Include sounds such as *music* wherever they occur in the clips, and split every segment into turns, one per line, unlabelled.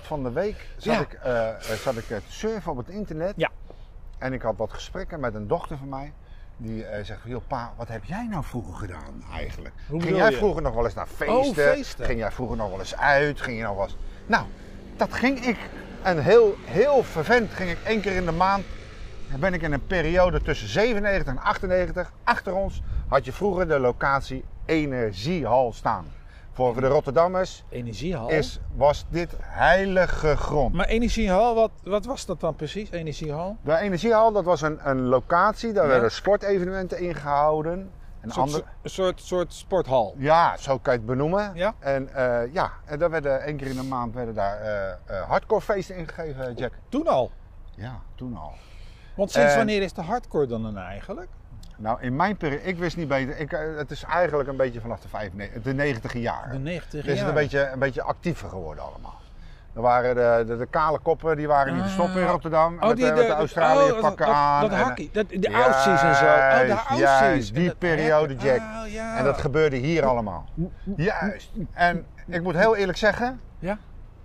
van de week zat
Ja.
ik, eh, eh, zat ik eh, te surfen op het internet.
Ja.
En ik had wat gesprekken met een dochter van mij. Die eh, zegt van, joh pa, wat heb jij nou vroeger gedaan eigenlijk?
Hoe
ging
bedoel
jij
je? Oh,
vroeger nog wel eens naar feesten?
feesten.
Ging jij vroeger nog wel eens uit? Ging je nog wel eens... Nou, dat ging ik. En heel, heel vervent ging ik één keer in de maand dan ben ik in een periode tussen 97 en 98. Achter ons had je vroeger de locatie Energiehal staan. Voor de Rotterdammers
Energiehal.
is, was dit heilige grond.
Maar energiehal, wat, wat was dat dan precies? Energiehal?
De Energiehal, dat was een, een locatie, daar
Ja.
werden sportevenementen ingehouden. Een
Een soort,
ander-
een soort, soort sporthal.
Ja, zo kan je het benoemen.
Ja.
En eh, ja, en daar werden één keer in de maand werden daar eh, eh, hardcore feesten ingegeven, Jack.
Toen al.
Ja, toen al.
Want sinds
En-
wanneer is de hardcore dan, dan eigenlijk?
Nou, in mijn periode, ik wist niet beter. Ik, eh, het is eigenlijk een beetje vanaf de, vijf, de 90 jaren.
De 90
Het is het
jaar.
een beetje, een beetje actiever geworden allemaal. Er waren de, de, de kale koppen die waren niet te stoppen in
Ah.
Rotterdam.
Oh,
met,
die
de, met eh, de
dat-
Australië
oh,
pakken
dat,
aan.
Dat,
en-
dat hakkie, dat, de
Juist,
outsies en zo. Oh, de
juist,
outsies.
die
En dat
periode,
hacken.
Jack.
Ah, ja.
En dat gebeurde hier allemaal. Juist. En ik moet heel eerlijk zeggen,
Ja?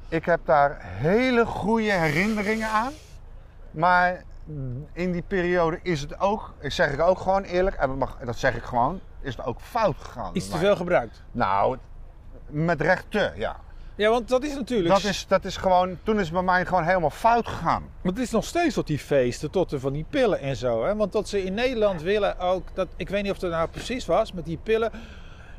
ik heb daar hele goede herinneringen aan. Maar in die periode is het ook, ik zeg ik ook gewoon eerlijk, en dat, mag, dat zeg ik gewoon, is het ook fout gegaan.
Iets te
bij
veel gebruikt.
mij. Nou, met recht te, ja.
Ja, want dat is natuurlijk...
Dat is, dat is gewoon, toen is het bij mij gewoon helemaal fout gegaan.
Want het is nog steeds tot die feesten, tot de, van die pillen en zo. Hè? Want dat ze in Nederland willen ook, dat, ik weet niet of dat nou precies was, met die pillen.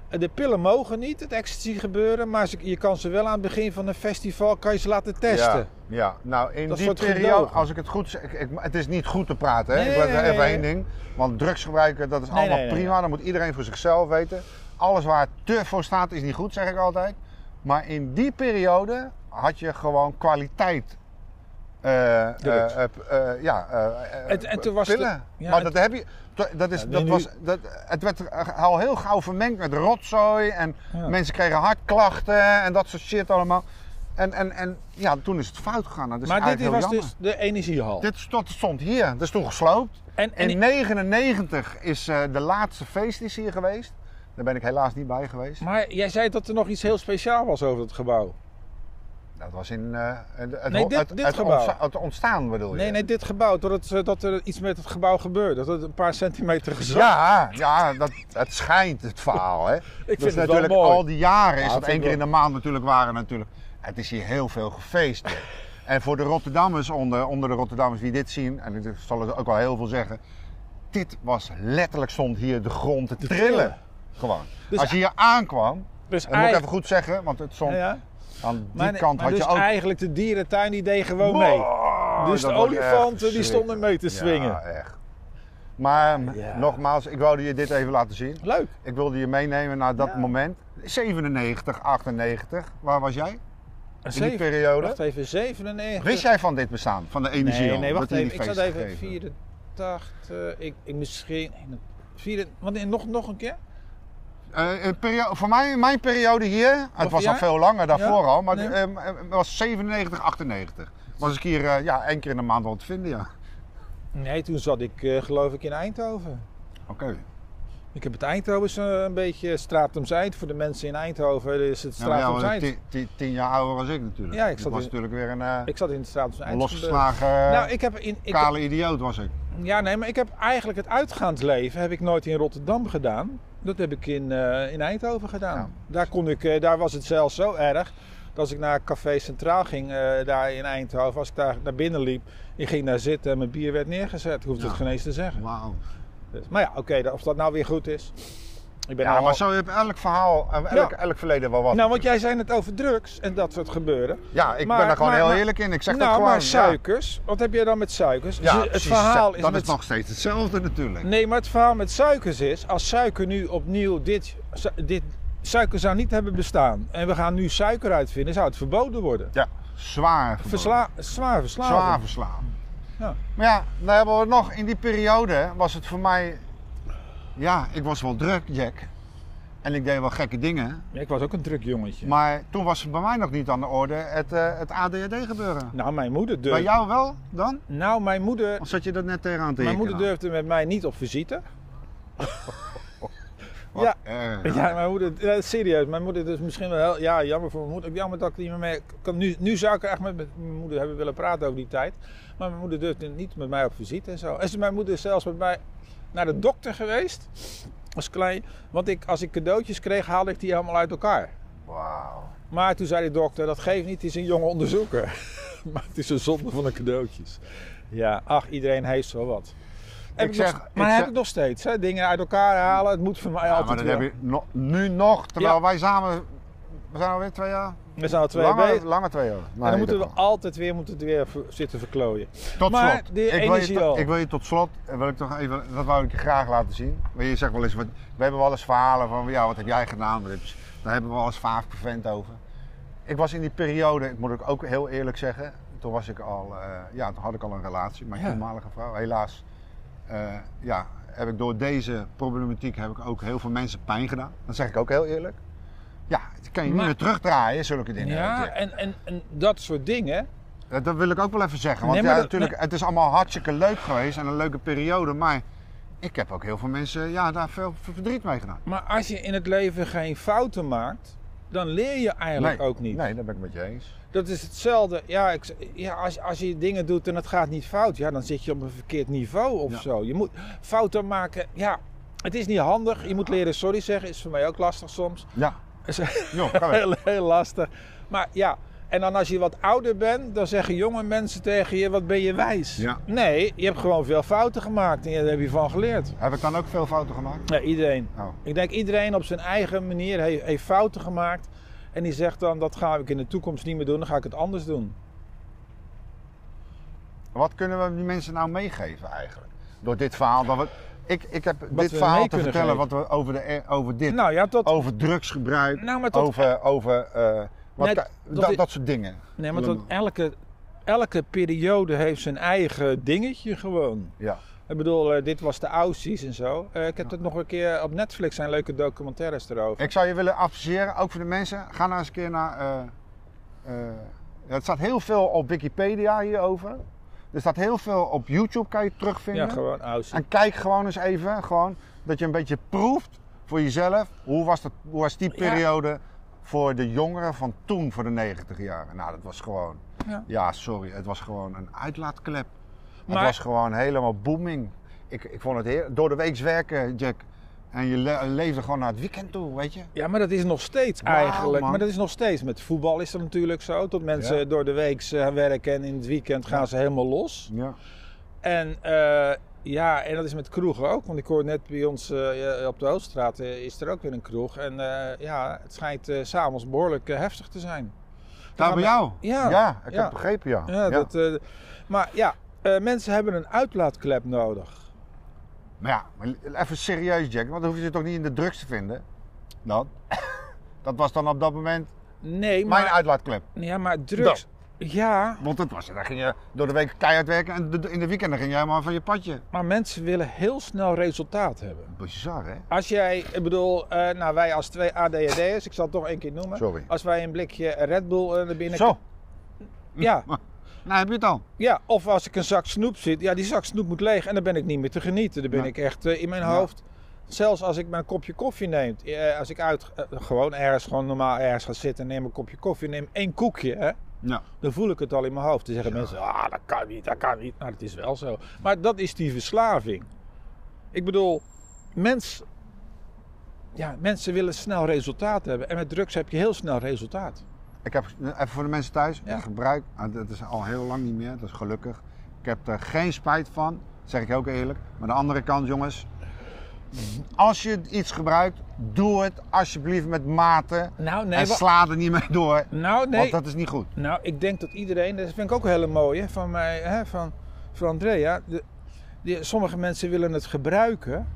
Eh, De pillen mogen niet, het ecstasy gebeuren, maar ze- je kan ze wel aan het begin van een festival kan je ze laten testen.
Ja, ja. nou in
Dat
die
soort
periode,
gedogen.
als ik het goed zeg, ik, ik- het is niet goed te praten, hè?
Nee,
ik wil
nee,
even
nee,
één
nee.
ding. Want drugs gebruiken, dat is allemaal
nee, nee,
prima, dat moet iedereen voor zichzelf weten. Alles waar te voor staat is niet goed, zeg ik altijd. Maar in die periode had je gewoon kwaliteit. eh, eh,
Drugs.
eh, eh, ja, eh, eh,
En- en toen was het-
pillen.
ja,
maar
en-
dat heb je. dat- Dat is,
Ja,
dat
nu-
was, dat, het werd al heel gauw vermengd met rotzooi en
Ja.
mensen kregen hartklachten en dat soort shit allemaal. En, en, en ja, toen is het fout gegaan. Dat is
maar dit
eigenlijk
was
heel
dus de energiehal.
Dit stond, stond hier, dat is toen gesloopt.
en, en,
In 99 is eh, de laatste feest is hier geweest. Daar ben ik helaas niet bij geweest.
maar jij zei dat er nog iets heel speciaal was over het gebouw.
Dat was in eh, het, het-
Nee, dit-
het,
dit
het
gebouw.
ontsta- het ontstaan bedoel je?
Nee, nee, dit gebouw, doordat, ze- dat er iets met het gebouw gebeurde. Dat het een paar centimeter gezakt.
Ja, ja dat, het schijnt het verhaal.
*laughs*
Hè.
vind
Dus
het wel
natuurlijk
mooi.
al die jaren is dat
Ja, vind ik
één keer
wel.
in de maand natuurlijk waren natuurlijk. Het is hier heel veel gefeest.
*laughs*
hè. en voor de Rotterdammers onder, onder de Rotterdammers die dit zien, en ik zal het ook wel heel veel zeggen. Dit was letterlijk stond hier de grond te, trillen.
trillen.
Gewoon.
Dus
Als je hier aankwam,
Dus
dat moet ik
eigenlijk-
even goed zeggen, want het stond
Ja, ja.
aan die
Maar-
kant
maar
had
dus
je ook.
eigenlijk de dierentuin die deed gewoon mee.
Wow,
Dus
Oh, dat
de
was echt
olifanten die stonden mee te
verschrikkelijk.
swingen.
Ja, echt. Maar
Ja.
nogmaals, ik wilde je dit even laten zien.
Leuk.
Ik wilde je meenemen naar dat
Ja.
moment. 97, 98. Waar was jij
Een
in die
zeven-
periode?
Wacht even, 97.
Wist jij van dit bestaan, van de energie?
Nee, nee, wacht even. Ik zat even 84. Ik, ik misschien. 4, want in- nog, nog een keer?
periode, Eh, voor mij, mijn periode hier, het
Of
was
ja?
al veel langer daarvoor
Ja?
al, maar
Nee.
ehm, ehm, het was 97, 98. Was ik hier eh, ja, één keer in de maand wel te vinden, ja.
Nee, toen zat ik eh, geloof ik in Eindhoven.
Oké.
Ik heb het Eindhoven eh, een beetje Straatums Eind. Voor de mensen in Eindhoven is het
Ja, Nou, maar jij
Straatums
was
Eind.
tien, tien- tien jaar ouder was ik natuurlijk.
Ja, ik
Ik
zat
was
in-
natuurlijk weer een eh,
ik zat in het Straatums Eind.
losgeslagen
Nou, ik heb in. Ik,
kale idioot was ik.
Ja, nee, maar ik heb eigenlijk het uitgaansleven heb ik nooit in Rotterdam gedaan. Dat heb ik in, eh, in Eindhoven gedaan. Daar, kon ik, eh, daar was het zelfs zo erg. Dat als ik naar Café Centraal ging, eh, daar in Eindhoven, als ik daar naar binnen liep, ik ging daar zitten en mijn bier werd neergezet. Ik hoefde
Ja.
het geen eens te zeggen.
Wauw.
Dus, maar ja, oké, dat- of dat nou weer goed is. Ik ben
Ja,
nou
maar
al-
zo heb elk verhaal, eh, elk,
Ja.
elk verleden wel wat.
Nou, want jij zei het over drugs en dat soort gebeuren.
ja, ik
maar-
ben daar gewoon
maar-
heel
maar-
eerlijk in. Ik zeg
nou,
dat gewoon.
maar
ja.
suikers. Wat heb jij dan met suikers?
Ja,
Dus het
precies.
verhaal is
dat
met Nou.
is nog steeds hetzelfde natuurlijk.
Nee, maar het verhaal met suikers is, als suiker nu opnieuw dit, su- dit suiker zou niet hebben bestaan en we gaan nu suiker uitvinden, zou het verboden worden.
Ja, zwaar verboden.
Versla, zwaar verslaafd.
Zwaar verslaan.
Ja.
Maar ja, daar hebben we nog. In die periode was het voor mij... Ja, ik was wel druk, Jack. En ik deed wel gekke dingen.
Ja, ik was ook een druk jongetje.
Maar toen was het bij mij nog niet aan de orde het, eh, het ADHD gebeuren.
nou, mijn moeder
Bij
durfde.
jou wel dan?
Nou, mijn moeder,
Of zat je dat net tegenaan te
mijn
hikken
moeder
dan?
durfde met mij niet op visite.
Wat
Ja.
erg.
Ja, mijn moeder, eh, serieus, mijn moeder is misschien wel heel, ja, jammer voor mijn moeder. Jammer dat ik niet meer mee kan. Nu, nu zou ik echt met met mijn moeder hebben willen praten over die tijd. Maar mijn moeder durfde niet met mij op visite en zo. En ze- mijn moeder is zelfs met mij naar de dokter geweest, als klein. Want ik, als ik cadeautjes kreeg, haalde ik die helemaal uit elkaar.
Wauw.
Maar toen zei die dokter, dat geeft niet, het is een jonge onderzoeker. *laughs* maar het is een zonde van de cadeautjes. Ja, ach, iedereen heeft zo wat. Heb ik
zeg-
nog-
ik
maar heb
zeg-
ik nog steeds, hè? dingen uit elkaar halen, het moet voor mij
Ja,
altijd
maar dat
wel.
heb je no- nu nog, terwijl
Ja.
wij samen... We zijn alweer twee jaar?
We zijn al twee
lange,
bezig.
lange twee jaar. Nee,
en dan
dat
moeten we
kan.
altijd weer, moeten het weer ver- zitten verklooien.
Tot
Maar
slot.
de
ik, wil je,
energie
to-
al.
ik wil je tot slot, eh, wil ik toch even, dat wou ik je graag laten zien. Want je zegt wel eens, wat, we hebben wel eens verhalen van, ja, wat heb jij gedaan? Wat heb je- Daar hebben we wel eens vaak prevent over. Ik was in die periode, ik moet ik ook heel eerlijk zeggen, toen was ik al, eh, ja, toen had ik al een relatie, mijn
Ja.
toenmalige vrouw. Helaas, eh, ja, heb ik door deze problematiek heb ik ook heel veel mensen pijn gedaan. Dat zeg ik ook heel eerlijk. Ja, dat kan je niet
Maar-
meer terugdraaien, zulke dingen.
Ja, en, en, en dat soort dingen.
Dat, dat wil ik ook wel even zeggen. Want
Nee, maar
ja,
dat-
natuurlijk, het is allemaal hartstikke leuk geweest en een leuke periode. Maar ik heb ook heel veel mensen ja, daar veel verdriet mee gedaan.
Maar als je in het leven geen fouten maakt, dan leer je eigenlijk ook niet.
Nee, dat ben ik met je eens.
Dat is hetzelfde. Ja, ik, ja als, als je dingen doet en het gaat niet fout, ja, dan zit je op een verkeerd niveau of
Ja.
zo. Je moet fouten maken. Ja, het is niet handig. Je moet leren sorry zeggen. Is voor mij ook lastig soms.
Ja,
Is
*laughs* joh, ga weg.
heel, heel lastig. Maar ja, en dan als je wat ouder bent, dan zeggen jonge mensen tegen je: wat ben je wijs?
Ja.
Nee, je hebt gewoon veel fouten gemaakt en daar heb je van geleerd.
Heb ik dan ook veel fouten gemaakt?
Ja, iedereen.
Oh.
Ik denk iedereen op zijn eigen manier heeft, heeft fouten gemaakt. En die zegt dan, dat ga ik in de toekomst niet meer doen, dan ga ik het anders doen.
Wat kunnen we die mensen nou meegeven eigenlijk? Door dit verhaal. Dat we, ik, ik heb dit
we
verhaal
mee
te
kunnen
vertellen wat
geven.
we over, de, e- over dit.
Nou ja, tot,
over drugsgebruik.
Nou, maar tot-
Over, over eh, wat,
Nee,
ka-
dat-
dat, dat soort dingen.
nee, maar tot
Willem.
elke, elke periode heeft zijn eigen dingetje gewoon.
Ja.
Ik bedoel, eh, dit was de Aussies en zo. Eh, ik heb dat nog een keer op Netflix zijn leuke documentaires erover.
Ik zou je willen adviseren, ook voor de mensen, ga nou eens een keer naar. eh, eh, ja, het staat heel veel op Wikipedia hierover. Er staat heel veel op YouTube, kan je terugvinden.
Ja, gewoon Aussies.
En kijk gewoon eens even, gewoon, dat je een beetje proeft voor jezelf. Hoe was, dat, hoe was die
Ja.
periode voor de jongeren van toen, voor de 90 jaren? Nou, dat was gewoon.
Ja.
sorry, het was gewoon een uitlaatklep. Het
Maar-
was gewoon helemaal booming. Ik, ik vond het heerlijk. Door de week werken, Jack. En je le- leefde gewoon naar het weekend toe, weet je?
Ja, maar dat is nog steeds
Wauw,
eigenlijk.
man.
Maar dat is nog steeds. Met voetbal is dat natuurlijk zo. Tot mensen
Ja.
door de week eh, werken en in het weekend gaan ze helemaal los.
Ja.
En eh, ja, en dat is met kroegen ook. Want ik hoor net bij ons eh, op de Hoofdstraat eh, is er ook weer een kroeg. En eh, ja, het schijnt eh, s s'avonds behoorlijk eh, heftig te zijn.
Daar bij
gaan we-
jou?
Ja,
Ja, ik
ja.
heb begrepen, ja.
Ja, Dat, eh, maar ja, eh, mensen hebben een uitlaatklep nodig.
Maar ja, maar even serieus, Jack. Want dan hoef je ze toch niet in de drugs te vinden? Dan? *laughs* dat was dan op dat moment
Nee, maar,
mijn uitlaatklep.
ja, maar drugs... Ja,
Want dat was het. Daar ging je door de week keihard werken en de- in de weekenden ging jij maar van je padje.
maar mensen willen heel snel resultaat hebben.
Bizar, hè?
Als jij, ik bedoel, eh, nou wij als twee ADHD'ers, ik zal het toch één keer noemen.
Sorry.
Als wij een blikje Red Bull eh, naar binnen...
Zo,
Ja,
nou heb je het al.
ja, of als ik een zak snoep zit, ja die zak snoep moet leeg en dan ben ik niet meer te genieten. Dan ben
Nee.
ik echt eh, in mijn
Ja.
hoofd. Zelfs als ik mijn kopje koffie neem, eh, als ik uit, eh, gewoon ergens, gewoon normaal ergens ga zitten en neem een kopje koffie, neem één koekje, hè,
Ja.
dan voel ik het al in mijn hoofd. Dan zeggen mensen, ah dat kan niet, dat kan niet. Nou dat is wel zo. Maar dat is die verslaving. Ik bedoel, mens, ja, mensen willen snel resultaat hebben en met drugs heb je heel snel resultaat.
Ik heb, even voor de mensen thuis,
Ja.
ik gebruik, ah, dat is al heel lang niet meer, dat is gelukkig. Ik heb er geen spijt van, zeg ik ook eerlijk. Maar de andere kant, jongens, als je iets gebruikt, doe het alsjeblieft met mate.
Nou nee,
en
wa-
sla er niet mee door,
nou nee.
want dat is niet goed.
Nou, ik denk dat iedereen, dat vind ik ook een hele mooie van mij, hè, van, van Andrea. De, die, sommige mensen willen het gebruiken.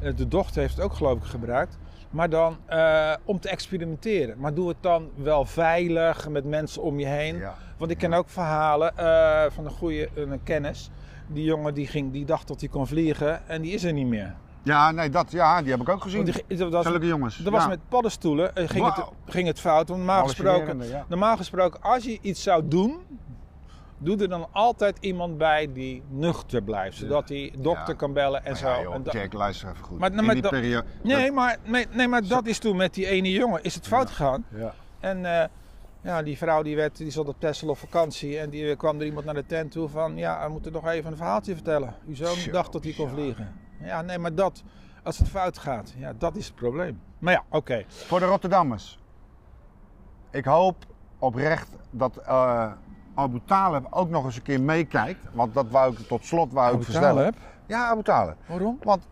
Eh, De dochter heeft het ook geloof ik gebruikt. Maar dan eh, om te experimenteren. Maar doe het dan wel veilig met mensen om je heen.
Ja.
Want ik ken ook verhalen eh, van een goede een kennis. Die jongen die, ging, die dacht dat hij kon vliegen en die is er niet meer.
Ja, nee, dat, ja, die heb ik ook gezien.
Want die, dat was,
Gelukkige jongens.
dat was
ja.
met paddenstoelen eh, ging,
Wauw.
het, ging het fout. Want normaal gesproken
Hallucinerende, ja.
Normaal gesproken, als je iets zou doen, Doe er dan altijd iemand bij die nuchter blijft. Zodat hij dokter
Ja.
kan bellen en
Maar
zo.
ja, joh,
En da-
Jack, luister even goed.
Maar- nou,
in
maar
die
dat-
periode...
nee, maar, nee, nee, maar dat is toen met die ene jongen is het fout gegaan.
dat- ja.
En eh, ja, die vrouw die, werd, die zat op Texel op vakantie en die eh, kwam er iemand naar de tent toe van... Ja, we moeten nog even een verhaaltje vertellen. Uw zoon
Zo,
dacht dat hij kon
ja.
vliegen. Ja, nee, maar dat... Als het fout gaat, ja, dat is het probleem. Maar ja, oké.
Voor de Rotterdammers. Ik hoop oprecht dat eh Abu Talib ook nog eens een keer meekijkt. Want dat wou ik tot slot wou ik
Abu
vertellen.
Talib?
Ja, Abu Talib.
Waarom?
Want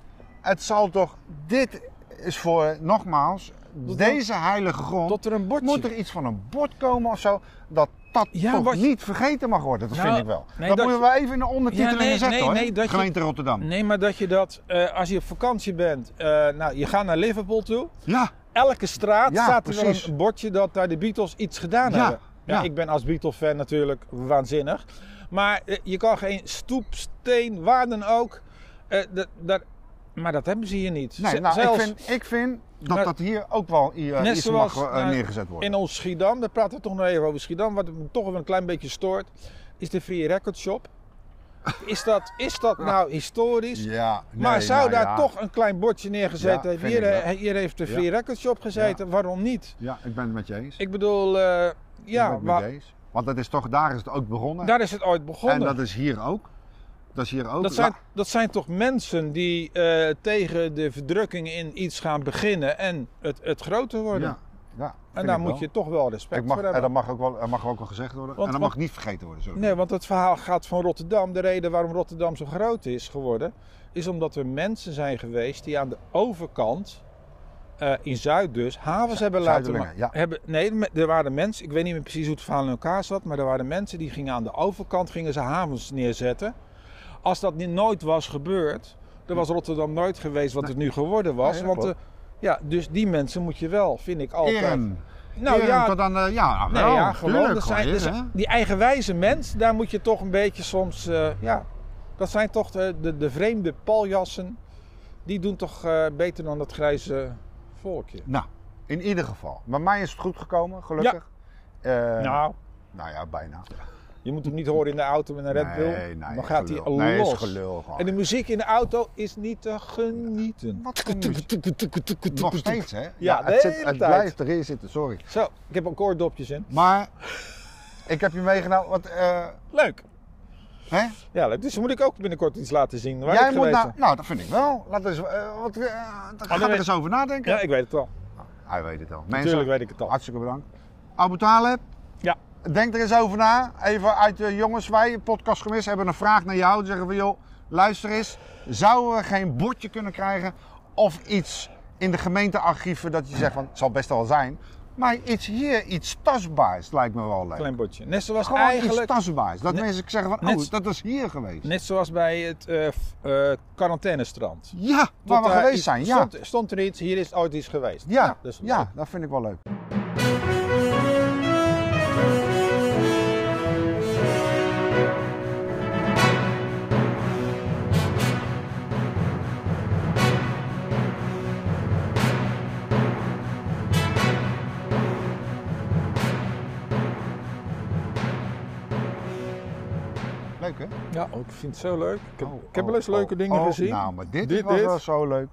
het zal toch... Dit is voor, nogmaals, deze heilige grond...
Tot er een bordje.
Moet er iets van een bord komen of zo? Dat dat
Ja,
toch
wat-
niet vergeten mag worden. Dat
Nou,
vind ik wel.
nee,
dat,
dat
moeten we even in de ondertitelingen
Ja, nee,
zetten
nee,
hoor.
nee, dat je-
Gemeente Rotterdam.
Nee, maar dat je dat, eh, als je op vakantie bent, eh, nou, je gaat naar Liverpool toe.
Ja,
Elke straat
Ja,
staat er wel
precies.
een bordje dat daar de Beatles iets gedaan
Ja,
hebben. Ja,
ja.
ik ben als Beatles-fan natuurlijk waanzinnig. Maar eh, je kan geen stoep, steen, waar dan ook. eh, dat- daar- maar dat hebben ze hier niet.
nee,
Z-
nou,
zelfs
ik, vind, ik vind dat
Maar-
dat hier ook wel i- eh,
Net
iets
zoals,
mag eh,
nou,
neergezet worden.
in ons Schiedam, daar praten we toch nog even over Schiedam, wat me toch wel een klein beetje stoort, is de Free Record Shop. Is dat, is dat nou historisch?
Ja, nee,
maar zou
nou
daar
ja.
toch een klein bordje neergezet
Ja,
hebben?
vind
Hier,
ik wel.
eh, hier heeft de Free
Ja.
Record Shop gezeten, waarom niet?
Ja, ik ben het met je eens.
Ik bedoel, eh,
Ik ben
ja,
het
wa-
met je eens. Want dat is toch, daar is het ook begonnen.
daar is het ooit begonnen.
en dat is hier ook. Dat is hier ook.
Dat zijn,
La-
dat zijn toch mensen die eh, tegen de verdrukking in iets gaan beginnen en het, het groter worden.
ja, ja,
en
vind
daar
ik
moet
wel.
je toch wel respect
Ik mag,
voor
en
hebben.
dat mag ook wel, dat mag ook wel gezegd worden.
Want-
en dat
want-
mag niet vergeten worden. Zo.
Nee, want het verhaal gaat van Rotterdam. De reden waarom Rotterdam zo groot is geworden, is omdat er mensen zijn geweest die aan de overkant, eh, in Zuid dus, havens hebben laten
Zuiderlingen,
ma-
ja.
hebben, Nee, me- er waren mensen, ik weet niet meer precies hoe het verhaal in elkaar zat, maar er waren mensen die gingen aan de overkant, gingen ze havens neerzetten. Als dat ni- nooit was gebeurd, dan was Rotterdam nooit geweest wat het nu geworden was.
Nee, dat
want
klopt.
eh, ja, dus die mensen moet je wel, vind ik altijd.
Eren.
Nou
Eren
ja,
Ehm, tot aan, eh, ja, nou,
Nee,
wel,
ja, gewoon.
tuurlijk,
dat zijn,
gewoon
dat
eren,
zijn-
hè.
die eigenwijze mens, daar moet je toch een beetje soms. eh, ja, dat zijn toch de, de, de vreemde paljassen. Die doen toch eh, beter dan dat grijze volkje.
Nou, in ieder geval. Bij mij is het goed gekomen, gelukkig. Eh,
nou,
nou ja, bijna.
je moet hem niet horen in de auto met een Red Bull.
Nee, nee,
dan gaat hij
gelul.
los.
Nee, is gelul gewoon.
en de muziek in de auto is niet te genieten.
Wat
*laughs*
voor muziek? Nog steeds, hè? Ja,
de
het, zit,
hele
het
tijd.
blijft erin zitten, sorry.
Zo, ik heb ook oordopjes in.
Maar ik heb je meegenomen, want eh,
Leuk.
hè?
Ja, leuk. Dus moet ik ook binnenkort iets laten zien. Waar
jij
ik
moet
geweest
nou,
ben.
nou, dat vind ik wel. Laat eens, eh, wat, eh, ga
dan
er
weet-
eens over nadenken.
Ah, Ja, ik weet het wel.
Hij weet het al. Mensen,
Natuurlijk weet ik het al.
hartstikke bedankt. Abu Taleb,
Ja.
denk er eens over na. Even uit de jongens, wij, podcast gemist, hebben een vraag naar jou. Dan zeggen we, joh, luister eens. Zouden we geen bordje kunnen krijgen of iets in de gemeentearchieven dat je zegt van, het zal best wel zijn. Maar iets hier, iets tastbaars lijkt me wel leuk.
Klein bordje. Net zoals
Gewoon
eigenlijk.
iets tastbaars. Dat
Net-
mensen zeggen van,
net-
oh, dat is hier geweest.
Net zoals bij het eh, f- eh, quarantainestrand.
Ja, waar we
Tot daar
geweest
iets-
zijn. Ja,
Stond, stond er iets, hier is ooit iets geweest.
ja,
dus
ja, dat vind ik wel leuk. Leuk hè?
Ja, oh, ik vind het zo leuk. Ik heb,
Oh,
ik heb wel
oh,
eens leuke
oh,
dingen
oh,
gezien.
Nou, maar dit,
Dit,
was wel Oh,
dit.
nou, zo leuk.